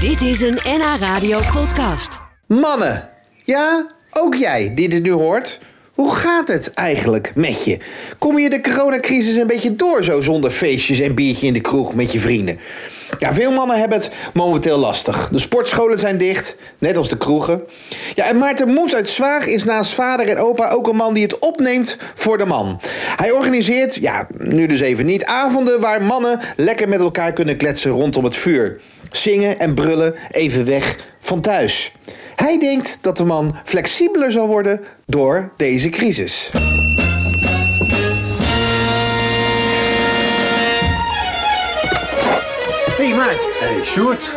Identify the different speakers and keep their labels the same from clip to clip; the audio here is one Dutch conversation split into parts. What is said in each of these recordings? Speaker 1: Dit is een NH Radio podcast.
Speaker 2: Mannen, ja, ook jij die dit nu hoort. Hoe gaat het eigenlijk met je? Kom je de coronacrisis een beetje door zo zonder feestjes en biertje in de kroeg met je vrienden? Ja, veel mannen hebben het momenteel lastig. De sportscholen zijn dicht, net als de kroegen. Ja, en Maarten Moes uit Zwaag is naast vader en opa ook een man die het opneemt voor de man. Hij organiseert, ja, nu dus even niet, avonden waar mannen lekker met elkaar kunnen kletsen rondom het vuur. Zingen en brullen even weg van thuis. Hij denkt dat de man flexibeler zal worden door deze crisis. Hey Maart,
Speaker 3: Hey Sjoerd,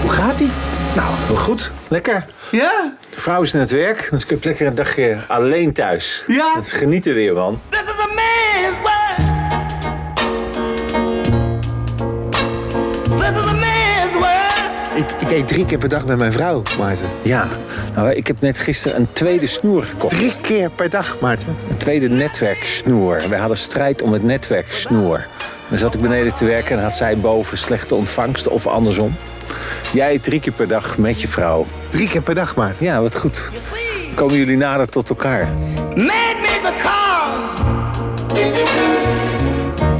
Speaker 2: hoe gaat ie?
Speaker 3: nou, heel goed. Lekker.
Speaker 2: Ja?
Speaker 3: De vrouw is aan het werk, dus ik heb lekker een dagje alleen thuis.
Speaker 2: Ja.
Speaker 3: Dat is genieten weer, man.
Speaker 4: This is a man's world. This is a man's world.
Speaker 2: Ik, ik eet drie keer per dag met mijn vrouw, Maarten.
Speaker 3: Ja. Nou, ik heb net gisteren een tweede snoer gekocht.
Speaker 2: Drie keer per dag, Maarten.
Speaker 3: Een tweede netwerksnoer. We hadden strijd om het netwerksnoer. Dan zat ik beneden te werken en had zij boven slechte ontvangst of andersom. Jij drie keer per dag met je vrouw.
Speaker 2: Drie keer per dag, Maarten.
Speaker 3: Ja, wat goed.
Speaker 4: You see,
Speaker 3: Komen jullie nader tot elkaar?
Speaker 4: man made the cars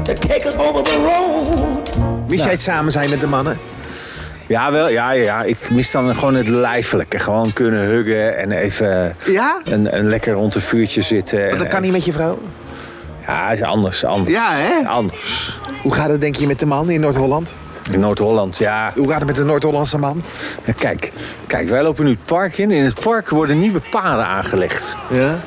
Speaker 4: to take us over the road.
Speaker 2: Mis
Speaker 3: Nou.
Speaker 2: jij het samen zijn met de mannen?
Speaker 3: Ja, wel, ja, ja, ja. Ik mis dan gewoon het lijfelijke. Gewoon kunnen huggen en even
Speaker 2: Ja?
Speaker 3: een, een lekker rond een vuurtje zitten.
Speaker 2: Want
Speaker 3: en-
Speaker 2: dat kan niet met je vrouw.
Speaker 3: Ja, is anders, anders.
Speaker 2: Ja, hè?
Speaker 3: Anders.
Speaker 2: Hoe gaat het denk je met de man in Noord-Holland?
Speaker 3: In Noord-Holland, ja.
Speaker 2: Hoe gaat het met de Noord-Hollandse man?
Speaker 3: Ja, Kijk, kijk, wij lopen nu het park in. In het park worden nieuwe paden aangelegd.
Speaker 2: Ja?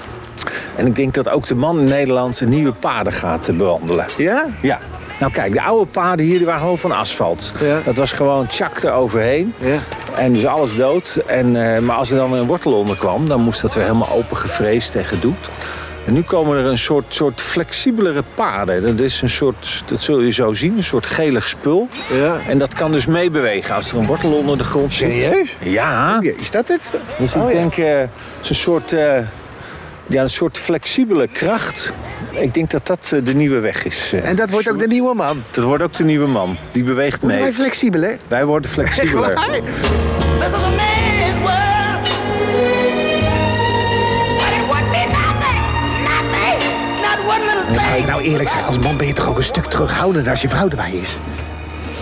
Speaker 3: En ik denk dat ook de man in Nederland zijn nieuwe paden gaat eh, bewandelen.
Speaker 2: Ja?
Speaker 3: Ja. Nou kijk, de oude paden hier die waren gewoon van asfalt.
Speaker 2: Ja.
Speaker 3: Dat was gewoon tjak eroverheen.
Speaker 2: Ja.
Speaker 3: En dus alles dood. En, eh, maar als er dan weer een wortel onder kwam, dan moest dat weer helemaal open gevreesd en gedoet. En nu komen er een soort, soort flexibelere paden. Dat is een soort, dat zul je zo zien, een soort gelig spul.
Speaker 2: Ja.
Speaker 3: En dat kan dus meebewegen als er een wortel onder de grond zit.
Speaker 2: Serieus?
Speaker 3: Ja.
Speaker 2: Ja, Is dat het? Oh,
Speaker 3: Dus ik denk, eh, het is een soort, eh, ja, een soort flexibele kracht. Ik denk dat dat eh, de nieuwe weg is. eh.
Speaker 2: En dat wordt ook de nieuwe man.
Speaker 3: Dat wordt ook de nieuwe man. Die beweegt
Speaker 2: Worden
Speaker 3: mee.
Speaker 2: wij flexibeler?
Speaker 3: Wij worden
Speaker 2: Echt
Speaker 3: flexibeler.
Speaker 2: waar?
Speaker 4: This is a man's world. But it would be nothing, nothing, not one little
Speaker 2: Ja, Laat ik
Speaker 4: thing.
Speaker 2: nou eerlijk zijn, als man ben je toch ook een stuk terughoudender als je vrouw erbij is?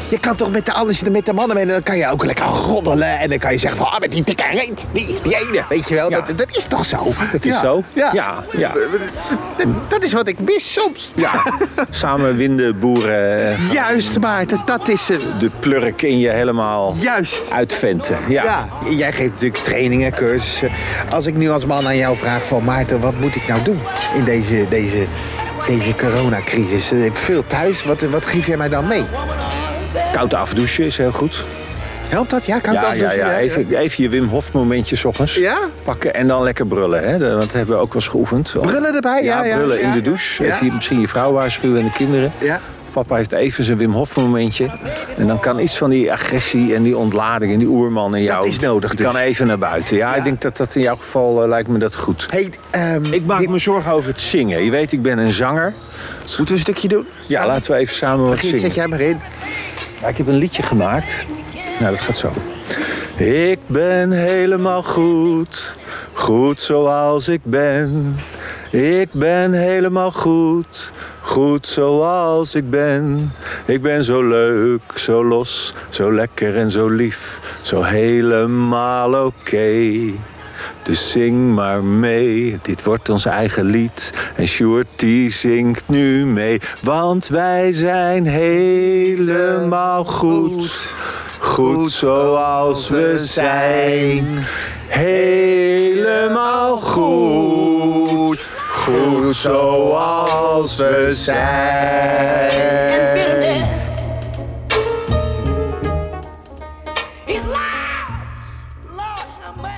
Speaker 2: Je kan toch met de, anders, met de mannen mee, dan kan je ook lekker roddelen. En dan kan je zeggen van, ah, met die dikke reet, die, die ene. Weet je wel,
Speaker 3: Ja.
Speaker 2: dat, dat is toch zo?
Speaker 3: Het is zo.
Speaker 2: Ja.
Speaker 3: ja. ja.
Speaker 2: Dat, dat is wat ik mis soms.
Speaker 3: Ja. Samen winden, boeren. eh,
Speaker 2: Juist, Maarten, dat is... eh,
Speaker 3: De plurk in je helemaal
Speaker 2: Juist.
Speaker 3: uitventen. Ja.
Speaker 2: Ja, jij geeft natuurlijk trainingen, cursussen. Als ik nu als man aan jou vraag van Maarten, wat moet ik nou doen in deze, deze, deze coronacrisis? Ik heb veel thuis, wat, wat geef jij mij dan mee?
Speaker 3: Koud afdouchen is heel goed.
Speaker 2: Helpt dat? Ja, kan ik
Speaker 3: ja,
Speaker 2: dat doen?
Speaker 3: ja, ja. Even, even je Wim Hof momentje 's ochtends
Speaker 2: Ja?
Speaker 3: pakken en dan lekker brullen. Hè? De- Want dat hebben we ook wel eens geoefend.
Speaker 2: Brullen erbij, ja, ja,
Speaker 3: brullen in
Speaker 2: ja.
Speaker 3: de douche.
Speaker 2: Ja.
Speaker 3: Even je- misschien je vrouw waarschuwen en de kinderen.
Speaker 2: Ja.
Speaker 3: Papa heeft even zijn Wim Hof momentje. En dan kan iets van die agressie en die ontlading en die oerman in jou...
Speaker 2: is nodig
Speaker 3: die
Speaker 2: dus.
Speaker 3: kan even naar buiten. Ja, ik denk dat dat in jouw geval eh, lijkt me dat goed.
Speaker 2: Hey, ehm,
Speaker 3: Ik maak
Speaker 2: dit-
Speaker 3: me zorgen over het zingen. Je weet, ik ben een zanger.
Speaker 2: Moeten we een stukje doen?
Speaker 3: Ja, laten we even samen wat
Speaker 2: Geert,
Speaker 3: zingen.
Speaker 2: zet jij maar in.
Speaker 3: Ja, ik heb een liedje gemaakt. Nou, dat gaat zo. Ik ben helemaal goed, goed zoals ik ben. Ik ben helemaal goed, goed zoals ik ben. Ik ben zo leuk, zo los, zo lekker en zo lief, zo helemaal oké. Dus zing maar mee, dit wordt ons eigen lied. En Sjoerd die zingt nu mee, want wij zijn helemaal goed. Goed zoals we zijn, helemaal goed. Goed zoals we
Speaker 4: And
Speaker 3: zijn.
Speaker 4: bitterness is lies. Lord have mercy.